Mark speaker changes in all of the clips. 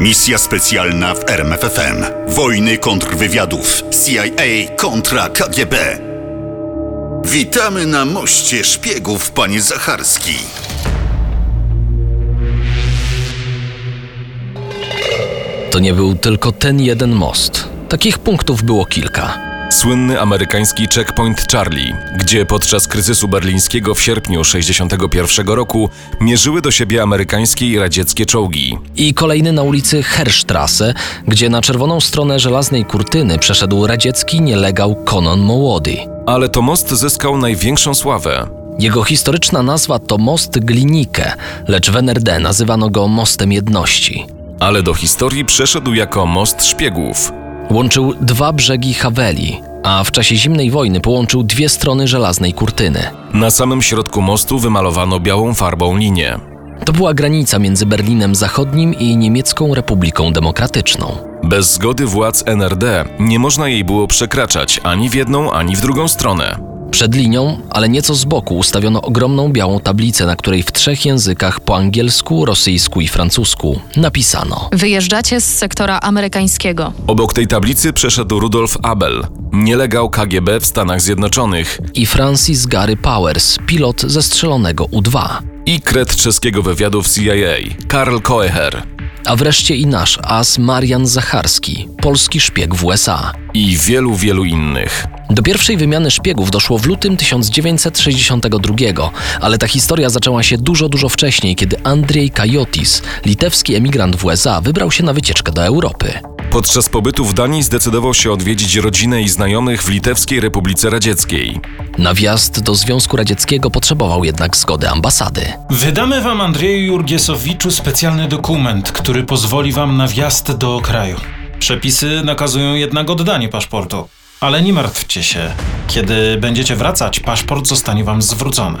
Speaker 1: Misja specjalna w RMFFM. Wojny kontrwywiadów. CIA kontra KGB. Witamy na moście szpiegów, panie Zacharski.
Speaker 2: To nie był tylko ten jeden most. Takich punktów było kilka.
Speaker 3: Słynny amerykański checkpoint Charlie, gdzie podczas kryzysu berlińskiego w sierpniu 1961 roku mierzyły do siebie amerykańskie i radzieckie czołgi.
Speaker 2: I kolejny na ulicy Herstrasse, gdzie na czerwoną stronę żelaznej kurtyny przeszedł radziecki nielegał Konon Mołody.
Speaker 3: Ale to most zyskał największą sławę.
Speaker 2: Jego historyczna nazwa to Most Glinikę, lecz w NRD nazywano go Mostem Jedności.
Speaker 3: Ale do historii przeszedł jako most szpiegów.
Speaker 2: Łączył dwa brzegi Haweli, a w czasie zimnej wojny połączył dwie strony żelaznej kurtyny.
Speaker 3: Na samym środku mostu wymalowano białą farbą linię.
Speaker 2: To była granica między Berlinem Zachodnim i Niemiecką Republiką Demokratyczną.
Speaker 3: Bez zgody władz NRD nie można jej było przekraczać ani w jedną, ani w drugą stronę.
Speaker 2: Przed linią, ale nieco z boku, ustawiono ogromną białą tablicę, na której w trzech językach po angielsku, rosyjsku i francusku napisano.
Speaker 4: Wyjeżdżacie z sektora amerykańskiego.
Speaker 3: Obok tej tablicy przeszedł Rudolf Abel, nielegał KGB w Stanach Zjednoczonych
Speaker 2: I Francis Gary Powers, pilot zestrzelonego U-2.
Speaker 3: i kret czeskiego wywiadu w CIA, Karl Koeher.
Speaker 2: A wreszcie i nasz as Marian Zacharski, polski szpieg w USA.
Speaker 3: i wielu, wielu innych.
Speaker 2: Do pierwszej wymiany szpiegów doszło w lutym 1962, ale ta historia zaczęła się dużo, dużo wcześniej, kiedy Andrzej Kajotis, litewski emigrant w USA, wybrał się na wycieczkę do Europy.
Speaker 3: Podczas pobytu w Danii zdecydował się odwiedzić rodzinę i znajomych w Litewskiej Republice Radzieckiej.
Speaker 2: Na wjazd do Związku Radzieckiego potrzebował jednak zgody ambasady.
Speaker 5: Wydamy wam, Andrzeju Jurgiesowiczu, specjalny dokument, który pozwoli wam na wjazd do kraju. Przepisy nakazują jednak oddanie paszportu. Ale nie martwcie się. Kiedy będziecie wracać, paszport zostanie wam zwrócony.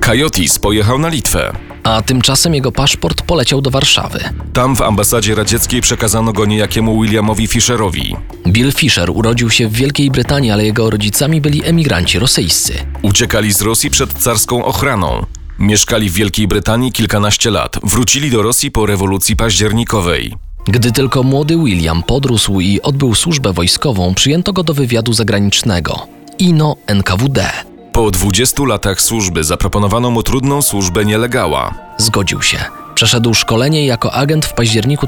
Speaker 3: Kajotis pojechał na Litwę.
Speaker 2: A tymczasem jego paszport poleciał do Warszawy.
Speaker 3: Tam w ambasadzie radzieckiej przekazano go niejakiemu Williamowi Fisherowi.
Speaker 2: Bill Fisher urodził się w Wielkiej Brytanii, ale jego rodzicami byli emigranci rosyjscy.
Speaker 3: Uciekali z Rosji przed carską ochraną. Mieszkali w Wielkiej Brytanii kilkanaście lat. Wrócili do Rosji po rewolucji październikowej.
Speaker 2: Gdy tylko młody William podrósł i odbył służbę wojskową, przyjęto go do wywiadu zagranicznego INO NKWD.
Speaker 3: Po 20 latach służby zaproponowano mu trudną służbę nielegała.
Speaker 2: Zgodził się. Przeszedł szkolenie i jako agent w październiku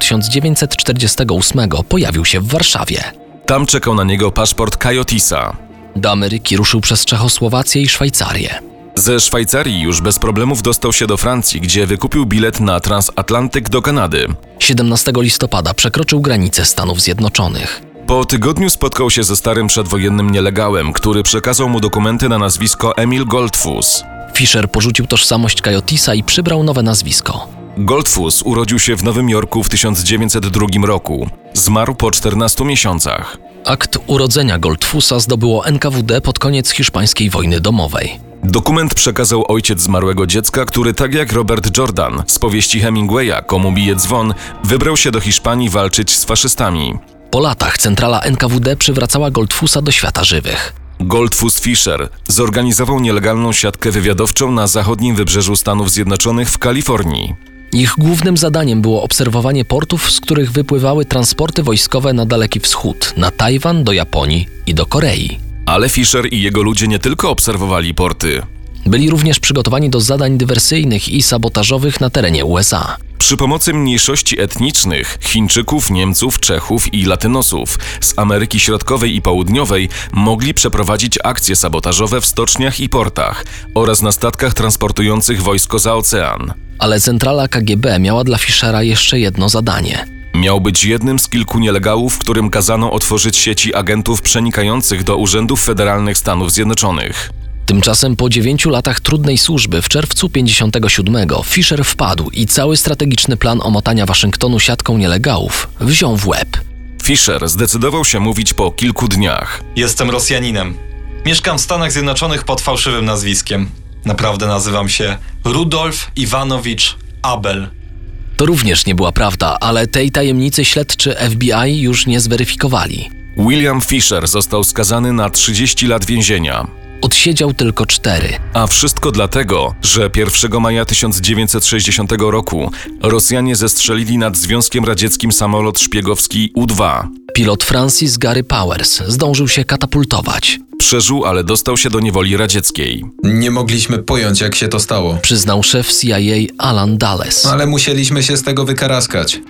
Speaker 2: 1948, pojawił się w Warszawie.
Speaker 3: Tam czekał na niego paszport Kajotisa.
Speaker 2: Do Ameryki ruszył przez Czechosłowację i Szwajcarię.
Speaker 3: Ze Szwajcarii już bez problemów dostał się do Francji, gdzie wykupił bilet na transatlantyk do Kanady.
Speaker 2: 17 listopada przekroczył granicę Stanów Zjednoczonych.
Speaker 3: Po tygodniu spotkał się ze starym przedwojennym nielegałem, który przekazał mu dokumenty na nazwisko Emil Goldfuss.
Speaker 2: Fischer porzucił tożsamość Kajotisa i przybrał nowe nazwisko.
Speaker 3: Goldfuss urodził się w Nowym Jorku w 1902 roku. Zmarł po 14 miesiącach.
Speaker 2: Akt urodzenia Goldfusa zdobyło NKWD pod koniec hiszpańskiej wojny domowej.
Speaker 3: Dokument przekazał ojciec zmarłego dziecka, który tak jak Robert Jordan z powieści Hemingwaya Komu bije dzwon, wybrał się do Hiszpanii walczyć z faszystami.
Speaker 2: Po latach centrala NKWD przywracała Goldfusa do świata żywych.
Speaker 3: Goldfuss Fisher zorganizował nielegalną siatkę wywiadowczą na zachodnim wybrzeżu Stanów Zjednoczonych w Kalifornii.
Speaker 2: Ich głównym zadaniem było obserwowanie portów, z których wypływały transporty wojskowe na Daleki Wschód, na Tajwan, do Japonii i do Korei.
Speaker 3: Ale Fisher i jego ludzie nie tylko obserwowali porty.
Speaker 2: Byli również przygotowani do zadań dywersyjnych i sabotażowych na terenie USA.
Speaker 3: Przy pomocy mniejszości etnicznych Chińczyków, Niemców, Czechów i Latynosów z Ameryki Środkowej i Południowej mogli przeprowadzić akcje sabotażowe w stoczniach i portach oraz na statkach transportujących wojsko za ocean.
Speaker 2: Ale centrala KGB miała dla Fischera jeszcze jedno zadanie.
Speaker 3: Miał być jednym z kilku nielegałów, którym kazano otworzyć sieci agentów przenikających do urzędów federalnych Stanów Zjednoczonych.
Speaker 2: Tymczasem po dziewięciu latach trudnej służby w czerwcu 57 Fischer wpadł i cały strategiczny plan omotania Waszyngtonu siatką nielegałów wziął w łeb.
Speaker 3: Fisher zdecydował się mówić po kilku dniach.
Speaker 6: Jestem Rosjaninem. Mieszkam w Stanach Zjednoczonych pod fałszywym nazwiskiem. Naprawdę nazywam się Rudolf Iwanowicz Abel.
Speaker 2: To również nie była prawda, ale tej tajemnicy śledczy FBI już nie zweryfikowali.
Speaker 3: William Fisher został skazany na 30 lat więzienia.
Speaker 2: Odsiedział tylko cztery.
Speaker 3: A wszystko dlatego, że 1 maja 1960 roku Rosjanie zestrzelili nad Związkiem Radzieckim samolot szpiegowski U-2.
Speaker 2: Pilot Francis Gary Powers zdążył się katapultować.
Speaker 3: Przeżył, ale dostał się do niewoli radzieckiej.
Speaker 7: Nie mogliśmy pojąć, jak się to stało,
Speaker 2: Przyznał szef CIA Alan Dulles.
Speaker 7: ale musieliśmy się z tego wykaraskać.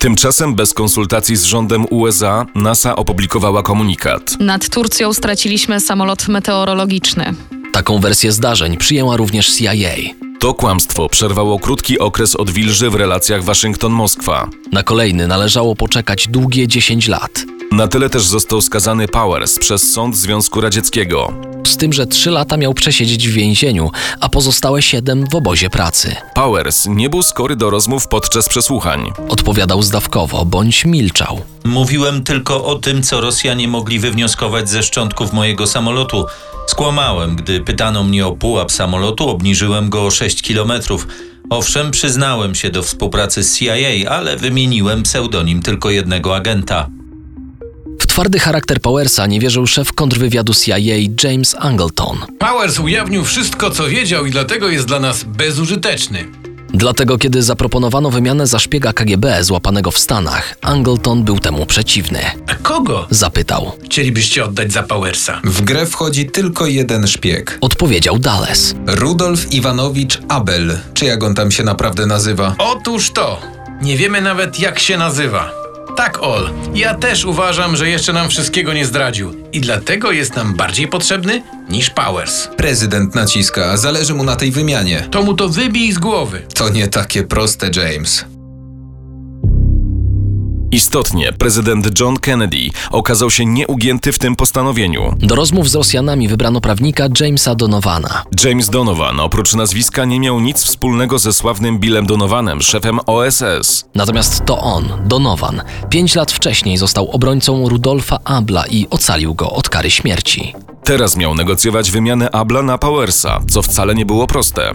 Speaker 3: Tymczasem bez konsultacji z rządem USA NASA opublikowała komunikat.
Speaker 4: Nad Turcją straciliśmy samolot meteorologiczny.
Speaker 2: Taką wersję zdarzeń przyjęła również CIA.
Speaker 3: To kłamstwo przerwało krótki okres odwilży w relacjach Waszyngton-Moskwa.
Speaker 2: Na kolejny należało poczekać długie 10 lat.
Speaker 3: Na tyle też został skazany Powers przez Sąd Związku Radzieckiego.
Speaker 2: Z tym, że 3 lata miał przesiedzieć w więzieniu, a pozostałe 7 w obozie pracy.
Speaker 3: Powers nie był skory do rozmów podczas przesłuchań.
Speaker 2: Odpowiadał zdawkowo bądź milczał.
Speaker 8: Mówiłem tylko o tym, co Rosjanie mogli wywnioskować ze szczątków mojego samolotu. Skłamałem, gdy pytano mnie o pułap samolotu, obniżyłem go o 6 kilometrów. Owszem, przyznałem się do współpracy z CIA, ale wymieniłem pseudonim tylko jednego agenta.
Speaker 2: W twardy charakter Powersa nie wierzył szef kontrwywiadu CIA James Angleton.
Speaker 9: Powers ujawnił wszystko, co wiedział i dlatego jest dla nas bezużyteczny.
Speaker 2: Dlatego, kiedy zaproponowano wymianę za szpiega KGB złapanego w Stanach, Angleton był temu przeciwny.
Speaker 9: A kogo
Speaker 2: Zapytał.
Speaker 9: chcielibyście oddać za Powersa?
Speaker 7: W grę wchodzi tylko jeden szpieg.
Speaker 2: Odpowiedział Dales.
Speaker 7: Rudolf Iwanowicz Abel, czy jak on tam się naprawdę nazywa.
Speaker 9: Otóż to. Nie wiemy nawet, jak się nazywa. Tak, Ol, ja też uważam, że jeszcze nam wszystkiego nie zdradził i dlatego jest nam bardziej potrzebny niż Powers.
Speaker 7: Prezydent naciska, zależy mu na tej wymianie.
Speaker 9: To mu to wybij z głowy.
Speaker 7: To nie takie proste, James.
Speaker 3: Istotnie, prezydent John Kennedy okazał się nieugięty w tym postanowieniu.
Speaker 2: Do rozmów z Rosjanami wybrano prawnika Jamesa Donovana.
Speaker 3: James Donovan oprócz nazwiska nie miał nic wspólnego ze sławnym Billem Donovanem, szefem OSS.
Speaker 2: Natomiast to on, Donovan, pięć lat wcześniej został obrońcą Rudolfa Abla i ocalił go od kary śmierci.
Speaker 3: Teraz miał negocjować wymianę Abla na Powersa, co wcale nie było proste.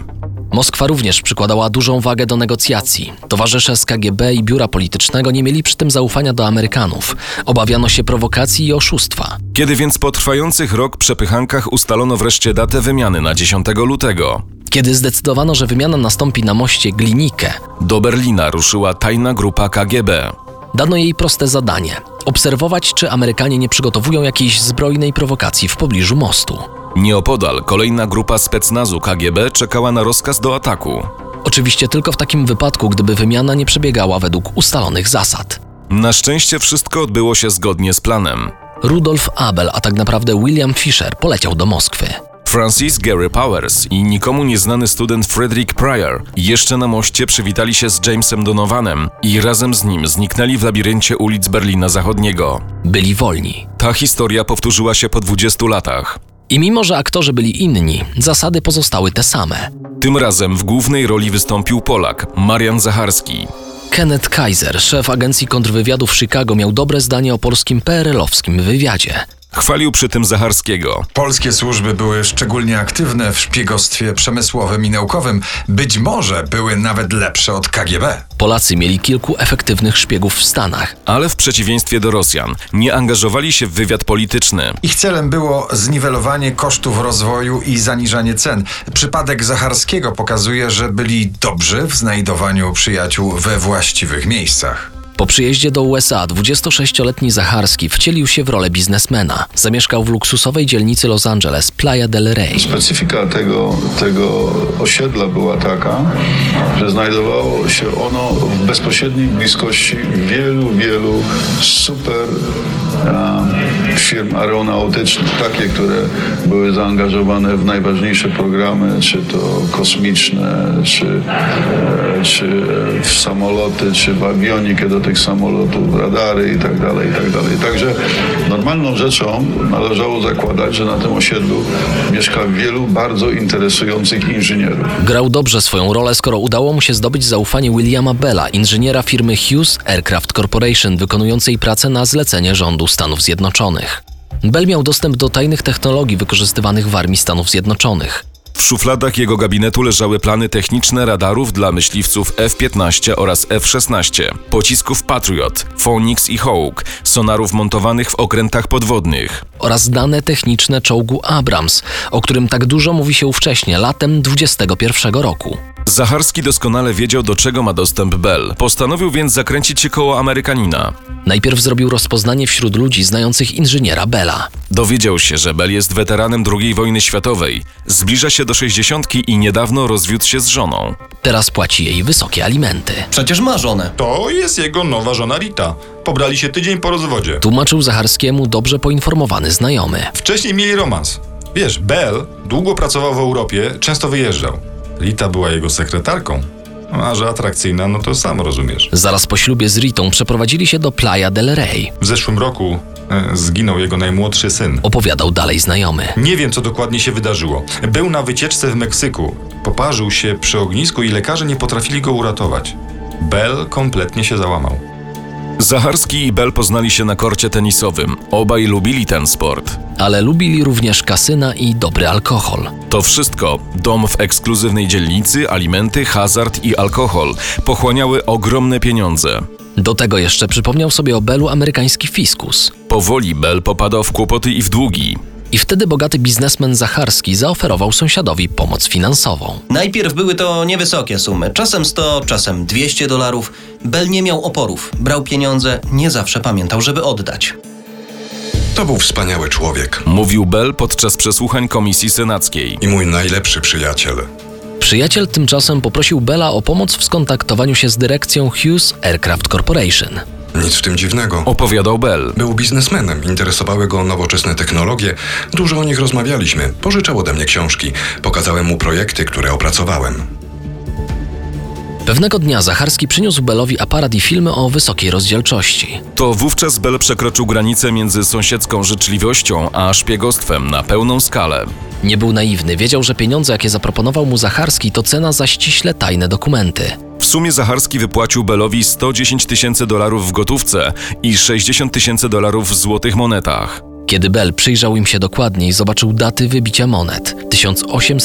Speaker 2: Moskwa również przykładała dużą wagę do negocjacji. Towarzysze z KGB i biura politycznego nie mieli przy tym zaufania do Amerykanów. Obawiano się prowokacji i oszustwa.
Speaker 3: Kiedy więc po trwających rok przepychankach ustalono wreszcie datę wymiany na 10 lutego,
Speaker 2: Kiedy zdecydowano, że wymiana nastąpi na moście Glinikę,
Speaker 3: do Berlina ruszyła tajna grupa KGB.
Speaker 2: dano jej proste zadanie obserwować, czy Amerykanie nie przygotowują jakiejś zbrojnej prowokacji w pobliżu mostu.
Speaker 3: Nieopodal kolejna grupa specnazu KGB czekała na rozkaz do ataku.
Speaker 2: Oczywiście tylko w takim wypadku, gdyby wymiana nie przebiegała według ustalonych zasad.
Speaker 3: Na szczęście wszystko odbyło się zgodnie z planem.
Speaker 2: Rudolf Abel, a tak naprawdę William Fisher, poleciał do Moskwy.
Speaker 3: Francis Gary Powers i nikomu nieznany student Frederick Pryor jeszcze na moście przywitali się z Jamesem Donovanem i razem z nim zniknęli w labiryncie ulic Berlina Zachodniego.
Speaker 2: Byli wolni.
Speaker 3: Ta historia powtórzyła się po 20 latach.
Speaker 2: I mimo, że aktorzy byli inni, zasady pozostały te same.
Speaker 3: Tym razem w głównej roli wystąpił Polak, Marian Zacharski.
Speaker 2: Kenneth Kaiser, szef agencji kontrwywiadu w Chicago, miał dobre zdanie o polskim PRL-owskim wywiadzie.
Speaker 3: Chwalił przy tym Zacharskiego.
Speaker 10: Polskie służby były szczególnie aktywne w szpiegostwie przemysłowym i naukowym. Być może były nawet lepsze od KGB.
Speaker 2: Polacy mieli kilku efektywnych szpiegów w Stanach,
Speaker 3: Ale w przeciwieństwie do Rosjan, nie angażowali się w wywiad polityczny.
Speaker 10: Ich celem było zniwelowanie kosztów rozwoju i zaniżanie cen. Przypadek Zacharskiego pokazuje, że byli dobrzy w znajdowaniu przyjaciół we właściwych miejscach.
Speaker 2: Po przyjeździe do USA 26-letni Zacharski wcielił się w rolę biznesmena. Zamieszkał w luksusowej dzielnicy Los Angeles, Playa del Rey.
Speaker 11: Specyfika tego, tego osiedla była taka, że znajdowało się ono w bezpośredniej bliskości wielu, wielu super e, firm aeronautycznych, takie, które były zaangażowane w najważniejsze programy, czy to kosmiczne, czy, e, czy w samoloty, czy w awionikę do tych samolotów, radary i tak dalej, i tak dalej. Także normalną rzeczą należało zakładać, że na tym osiedlu mieszka wielu bardzo interesujących inżynierów.
Speaker 2: Grał dobrze swoją rolę, skoro udało mu się zdobyć zaufanie Williama Bella, inżyniera firmy Hughes Aircraft Corporation, wykonującej pracę na zlecenie rządu Stanów Zjednoczonych. Bell miał dostęp do tajnych technologii wykorzystywanych w armii Stanów Zjednoczonych.
Speaker 3: W szufladach jego gabinetu leżały plany techniczne radarów dla myśliwców F-15 oraz F-16, pocisków Patriot, Phoenix i Hawk, sonarów montowanych w okrętach podwodnych.
Speaker 2: oraz dane techniczne czołgu Abrams, o którym tak dużo mówi się ówcześnie, latem 21 roku.
Speaker 3: Zacharski doskonale wiedział, do czego ma dostęp Bell. Postanowił więc zakręcić się koło Amerykanina.
Speaker 2: Najpierw zrobił rozpoznanie wśród ludzi znających inżyniera Bella.
Speaker 3: Dowiedział się, że Bell jest weteranem II wojny światowej, zbliża się do 60 i niedawno rozwiódł się z żoną.
Speaker 2: Teraz płaci jej wysokie alimenty.
Speaker 12: Przecież ma żonę. To jest jego nowa żona Rita. Pobrali się tydzień po rozwodzie.
Speaker 2: Tłumaczył Zacharskiemu dobrze poinformowany znajomy.
Speaker 12: Wcześniej mieli romans. Wiesz, Bell długo pracował w Europie, często wyjeżdżał. Rita była jego sekretarką. A że atrakcyjna, no to sam rozumiesz.
Speaker 2: Zaraz po ślubie z Ritą przeprowadzili się do Playa del Rey.
Speaker 12: W zeszłym roku e, zginął jego najmłodszy syn.
Speaker 2: Opowiadał dalej znajomy.
Speaker 12: Nie wiem, co dokładnie się wydarzyło. Był na wycieczce w Meksyku. Poparzył się przy ognisku i lekarze nie potrafili go uratować. Bell kompletnie się załamał.
Speaker 3: Zacharski i Bell poznali się na korcie tenisowym. Obaj lubili ten sport.
Speaker 2: Ale lubili również kasyna i dobry alkohol.
Speaker 3: To wszystko dom w ekskluzywnej dzielnicy, alimenty, hazard i alkohol pochłaniały ogromne pieniądze.
Speaker 2: Do tego jeszcze przypomniał sobie o Bellu amerykański fiskus.
Speaker 3: Powoli Bell popadał w kłopoty i w długi.
Speaker 2: I wtedy bogaty biznesmen Zacharski zaoferował sąsiadowi pomoc finansową.
Speaker 13: Najpierw były to niewysokie sumy, czasem 100, czasem 200 dolarów. Bell nie miał oporów, brał pieniądze, nie zawsze pamiętał, żeby oddać.
Speaker 14: To był wspaniały człowiek
Speaker 3: Mówił Bell podczas przesłuchań komisji senackiej.
Speaker 14: i mój najlepszy przyjaciel.
Speaker 2: Przyjaciel tymczasem poprosił Bella o pomoc w skontaktowaniu się z dyrekcją Hughes Aircraft Corporation.
Speaker 14: Nic w tym dziwnego.
Speaker 3: Opowiadał Bell.
Speaker 14: Był biznesmenem, interesowały go nowoczesne technologie, dużo o nich rozmawialiśmy. Pożyczał ode mnie książki, pokazałem mu projekty, które opracowałem.
Speaker 2: Pewnego dnia Zacharski przyniósł Bellowi aparat i filmy o wysokiej rozdzielczości.
Speaker 3: To wówczas Bell przekroczył granicę między sąsiedzką życzliwością a szpiegostwem na pełną skalę.
Speaker 2: Nie był naiwny, wiedział, że pieniądze, jakie zaproponował mu Zacharski, to cena za ściśle tajne dokumenty.
Speaker 3: W sumie Zacharski wypłacił Bellowi 110 tysięcy dolarów w gotówce i 60 tysięcy dolarów w złotych monetach.
Speaker 2: Kiedy Bell przyjrzał im się dokładniej, zobaczył daty wybicia monet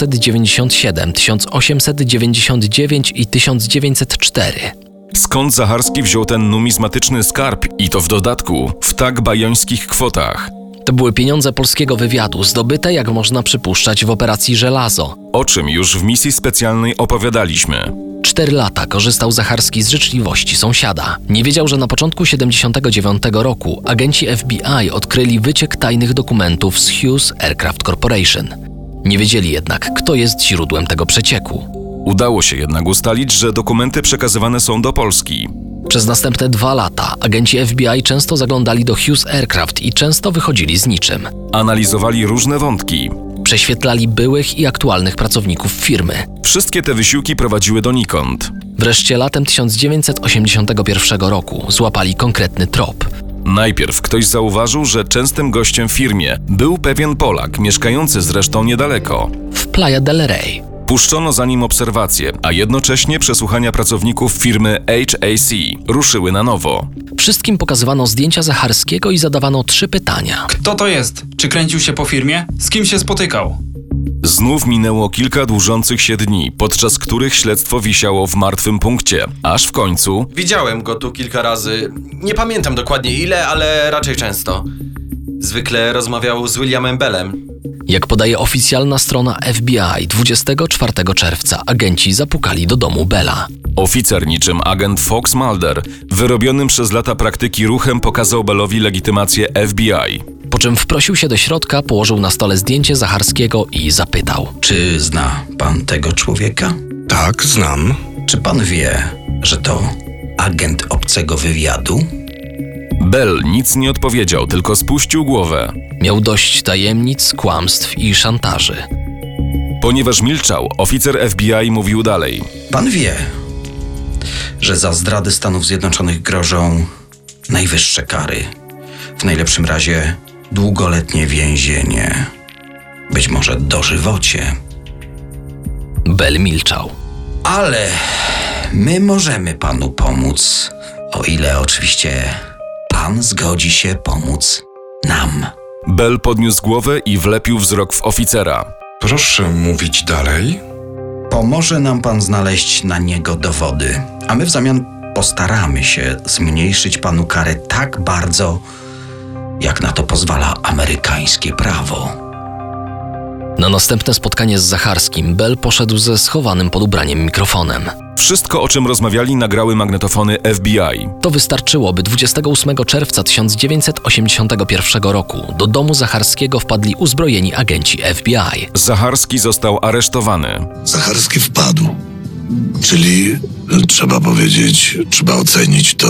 Speaker 2: 1897, 1899 i 1904.
Speaker 3: Skąd Zacharski wziął ten numizmatyczny skarb i to w dodatku w tak bajońskich kwotach?
Speaker 2: To były pieniądze polskiego wywiadu, zdobyte, jak można przypuszczać, w operacji Żelazo.
Speaker 3: O czym już w misji specjalnej opowiadaliśmy.
Speaker 2: Cztery lata korzystał Zacharski z życzliwości sąsiada. Nie wiedział, że na początku 79 roku agenci FBI odkryli wyciek tajnych dokumentów z Hughes Aircraft Corporation. Nie wiedzieli jednak, kto jest źródłem tego przecieku.
Speaker 3: Udało się jednak ustalić, że dokumenty przekazywane są do Polski.
Speaker 2: Przez następne dwa lata agenci FBI często zaglądali do Hughes Aircraft i często wychodzili z niczym.
Speaker 3: Analizowali różne wątki.
Speaker 2: Prześwietlali byłych i aktualnych pracowników firmy.
Speaker 3: Wszystkie te wysiłki prowadziły donikąd.
Speaker 2: Wreszcie latem 1981 roku złapali konkretny trop.
Speaker 3: Najpierw ktoś zauważył, że częstym gościem w firmie był pewien Polak, mieszkający zresztą niedaleko.
Speaker 2: W Playa del Rey.
Speaker 3: Puszczono za nim obserwacje, a jednocześnie przesłuchania pracowników firmy HAC ruszyły na nowo.
Speaker 2: Wszystkim pokazywano zdjęcia Zacharskiego i zadawano trzy pytania.
Speaker 15: Kto to jest? Czy kręcił się po firmie? Z kim się spotykał?
Speaker 3: Znów minęło kilka dłużących się dni, podczas których śledztwo wisiało w martwym punkcie, aż w końcu
Speaker 16: Widziałem go tu kilka razy. Nie pamiętam dokładnie ile, ale raczej często. Zwykle rozmawiał z Williamem Bellem.
Speaker 2: Jak podaje oficjalna strona FBI, 24 czerwca agenci zapukali do domu Bella.
Speaker 3: oficer niczym agent Fox Mulder, wyrobionym przez lata praktyki ruchem pokazał Bellowi legitymację FBI.
Speaker 2: Po czym wprosił się do środka, położył na stole zdjęcie Zacharskiego i zapytał.
Speaker 17: Czy zna pan tego człowieka?
Speaker 14: Tak, znam.
Speaker 17: Czy pan wie, że to agent obcego wywiadu?
Speaker 3: Bell nic nie odpowiedział, tylko spuścił głowę.
Speaker 2: Miał dość tajemnic, kłamstw i szantaży.
Speaker 3: Ponieważ milczał, oficer FBI mówił dalej.
Speaker 17: Pan wie, że za zdrady Stanów Zjednoczonych grożą najwyższe kary. W najlepszym razie długoletnie więzienie. Być może dożywocie.
Speaker 2: Bell milczał.
Speaker 17: Ale my możemy panu pomóc, o ile oczywiście pan zgodzi się pomóc nam.
Speaker 3: Bell podniósł głowę i wlepił wzrok w oficera.
Speaker 14: Proszę mówić dalej.
Speaker 17: Pomoże nam pan znaleźć na niego dowody, a my w zamian postaramy się zmniejszyć panu karę tak bardzo, jak na to pozwala amerykańskie prawo.
Speaker 2: Na następne spotkanie z Zacharskim Bell poszedł ze schowanym pod ubraniem mikrofonem.
Speaker 3: Wszystko, o czym rozmawiali, nagrały magnetofony FBI.
Speaker 2: To wystarczyło, by 28 czerwca 1981 roku do domu Zacharskiego wpadli uzbrojeni agenci FBI.
Speaker 3: Zacharski został aresztowany.
Speaker 18: Zacharski wpadł. Czyli e, trzeba powiedzieć, trzeba ocenić to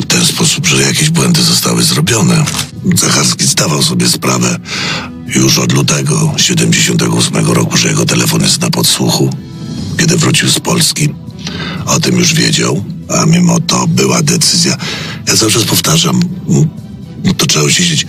Speaker 18: w ten sposób, że jakieś błędy zostały zrobione. Zacharski zdawał sobie sprawę już od lutego 78 roku, że jego telefon jest na podsłuchu. Kiedy wrócił z Polski, o tym już wiedział, a mimo to była decyzja. Ja cały czas powtarzam, m, to trzeba uciszyć,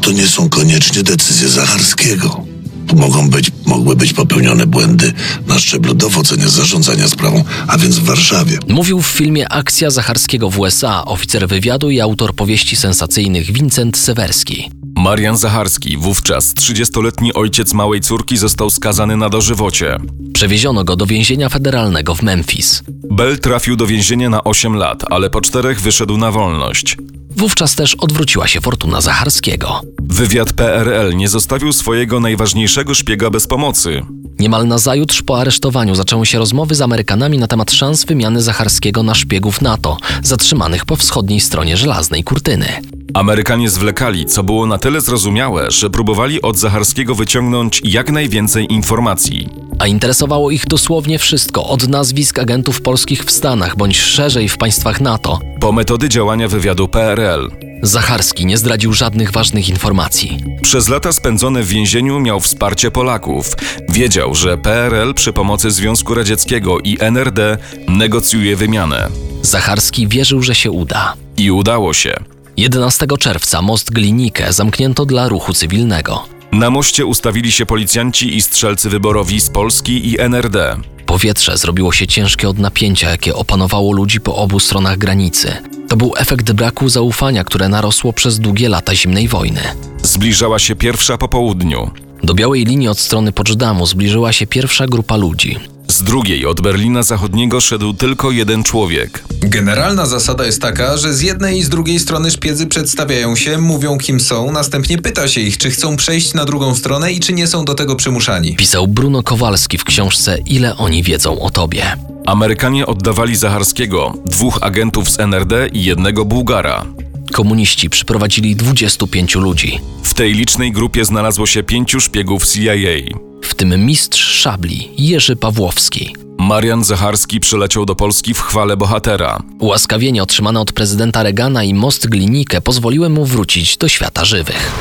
Speaker 18: to nie są koniecznie decyzje Zacharskiego. Tu Mogą być, mogły być popełnione błędy na szczeblu dowodzenia, zarządzania sprawą, a więc w Warszawie.
Speaker 2: Mówił w filmie Akcja Zacharskiego w USA oficer wywiadu i autor powieści sensacyjnych Wincent Sewerski.
Speaker 3: Marian Zacharski, wówczas 30-letni ojciec małej córki, został skazany na dożywocie.
Speaker 2: Przewieziono go do więzienia federalnego w Memphis.
Speaker 3: Bell trafił do więzienia na 8 lat, ale po czterech wyszedł na wolność.
Speaker 2: Wówczas też odwróciła się fortuna Zacharskiego.
Speaker 3: Wywiad PRL nie zostawił swojego najważniejszego szpiega bez pomocy.
Speaker 2: Niemal nazajutrz po aresztowaniu zaczęły się rozmowy z Amerykanami na temat szans wymiany Zacharskiego na szpiegów NATO, zatrzymanych po wschodniej stronie żelaznej kurtyny.
Speaker 3: Amerykanie zwlekali, co było na tyle zrozumiałe, że próbowali od Zacharskiego wyciągnąć jak najwięcej informacji.
Speaker 2: A interesowało ich dosłownie wszystko, od nazwisk agentów polskich w Stanach bądź szerzej w państwach NATO.
Speaker 3: Po metody działania wywiadu PRL.
Speaker 2: Zacharski nie zdradził żadnych ważnych informacji.
Speaker 3: Przez lata spędzone w więzieniu miał wsparcie Polaków. Wiedział, że PRL przy pomocy Związku Radzieckiego i NRD negocjuje wymianę.
Speaker 2: Zacharski wierzył, że się uda.
Speaker 3: I udało się.
Speaker 2: 11 czerwca most Glinikę zamknięto dla ruchu cywilnego.
Speaker 3: Na moście ustawili się policjanci i strzelcy wyborowi z Polski i NRD.
Speaker 2: Powietrze zrobiło się ciężkie od napięcia, jakie opanowało ludzi po obu stronach granicy. To był efekt braku zaufania, które narosło przez długie lata zimnej wojny.
Speaker 3: Zbliżała się pierwsza po południu.
Speaker 2: Do białej linii od strony Poczdamu zbliżyła się pierwsza grupa ludzi.
Speaker 3: Z drugiej od Berlina Zachodniego szedł tylko jeden człowiek.
Speaker 7: Generalna zasada jest taka, że z jednej i z drugiej strony szpiedzy przedstawiają się, mówią kim są, następnie pyta się ich, czy chcą przejść na drugą stronę i czy nie są do tego przymuszani.
Speaker 2: Pisał Bruno Kowalski w książce Ile oni wiedzą o tobie.
Speaker 3: Amerykanie oddawali Zacharskiego, dwóch agentów z NRD i jednego Bułgara.
Speaker 2: Komuniści przyprowadzili 25 ludzi,
Speaker 3: W tej licznej grupie znalazło się pięciu szpiegów CIA.
Speaker 2: w tym mistrz szabli Jerzy Pawłowski.
Speaker 3: Marian Zacharski przyleciał do Polski w chwale bohatera.
Speaker 2: Ułaskawienie otrzymane od prezydenta Reagana i most Glinikę pozwoliły mu wrócić do świata żywych.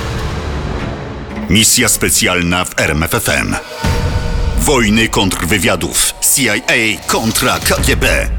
Speaker 1: Misja specjalna w RMFFM. Wojny kontrwywiadów. CIA kontra KGB.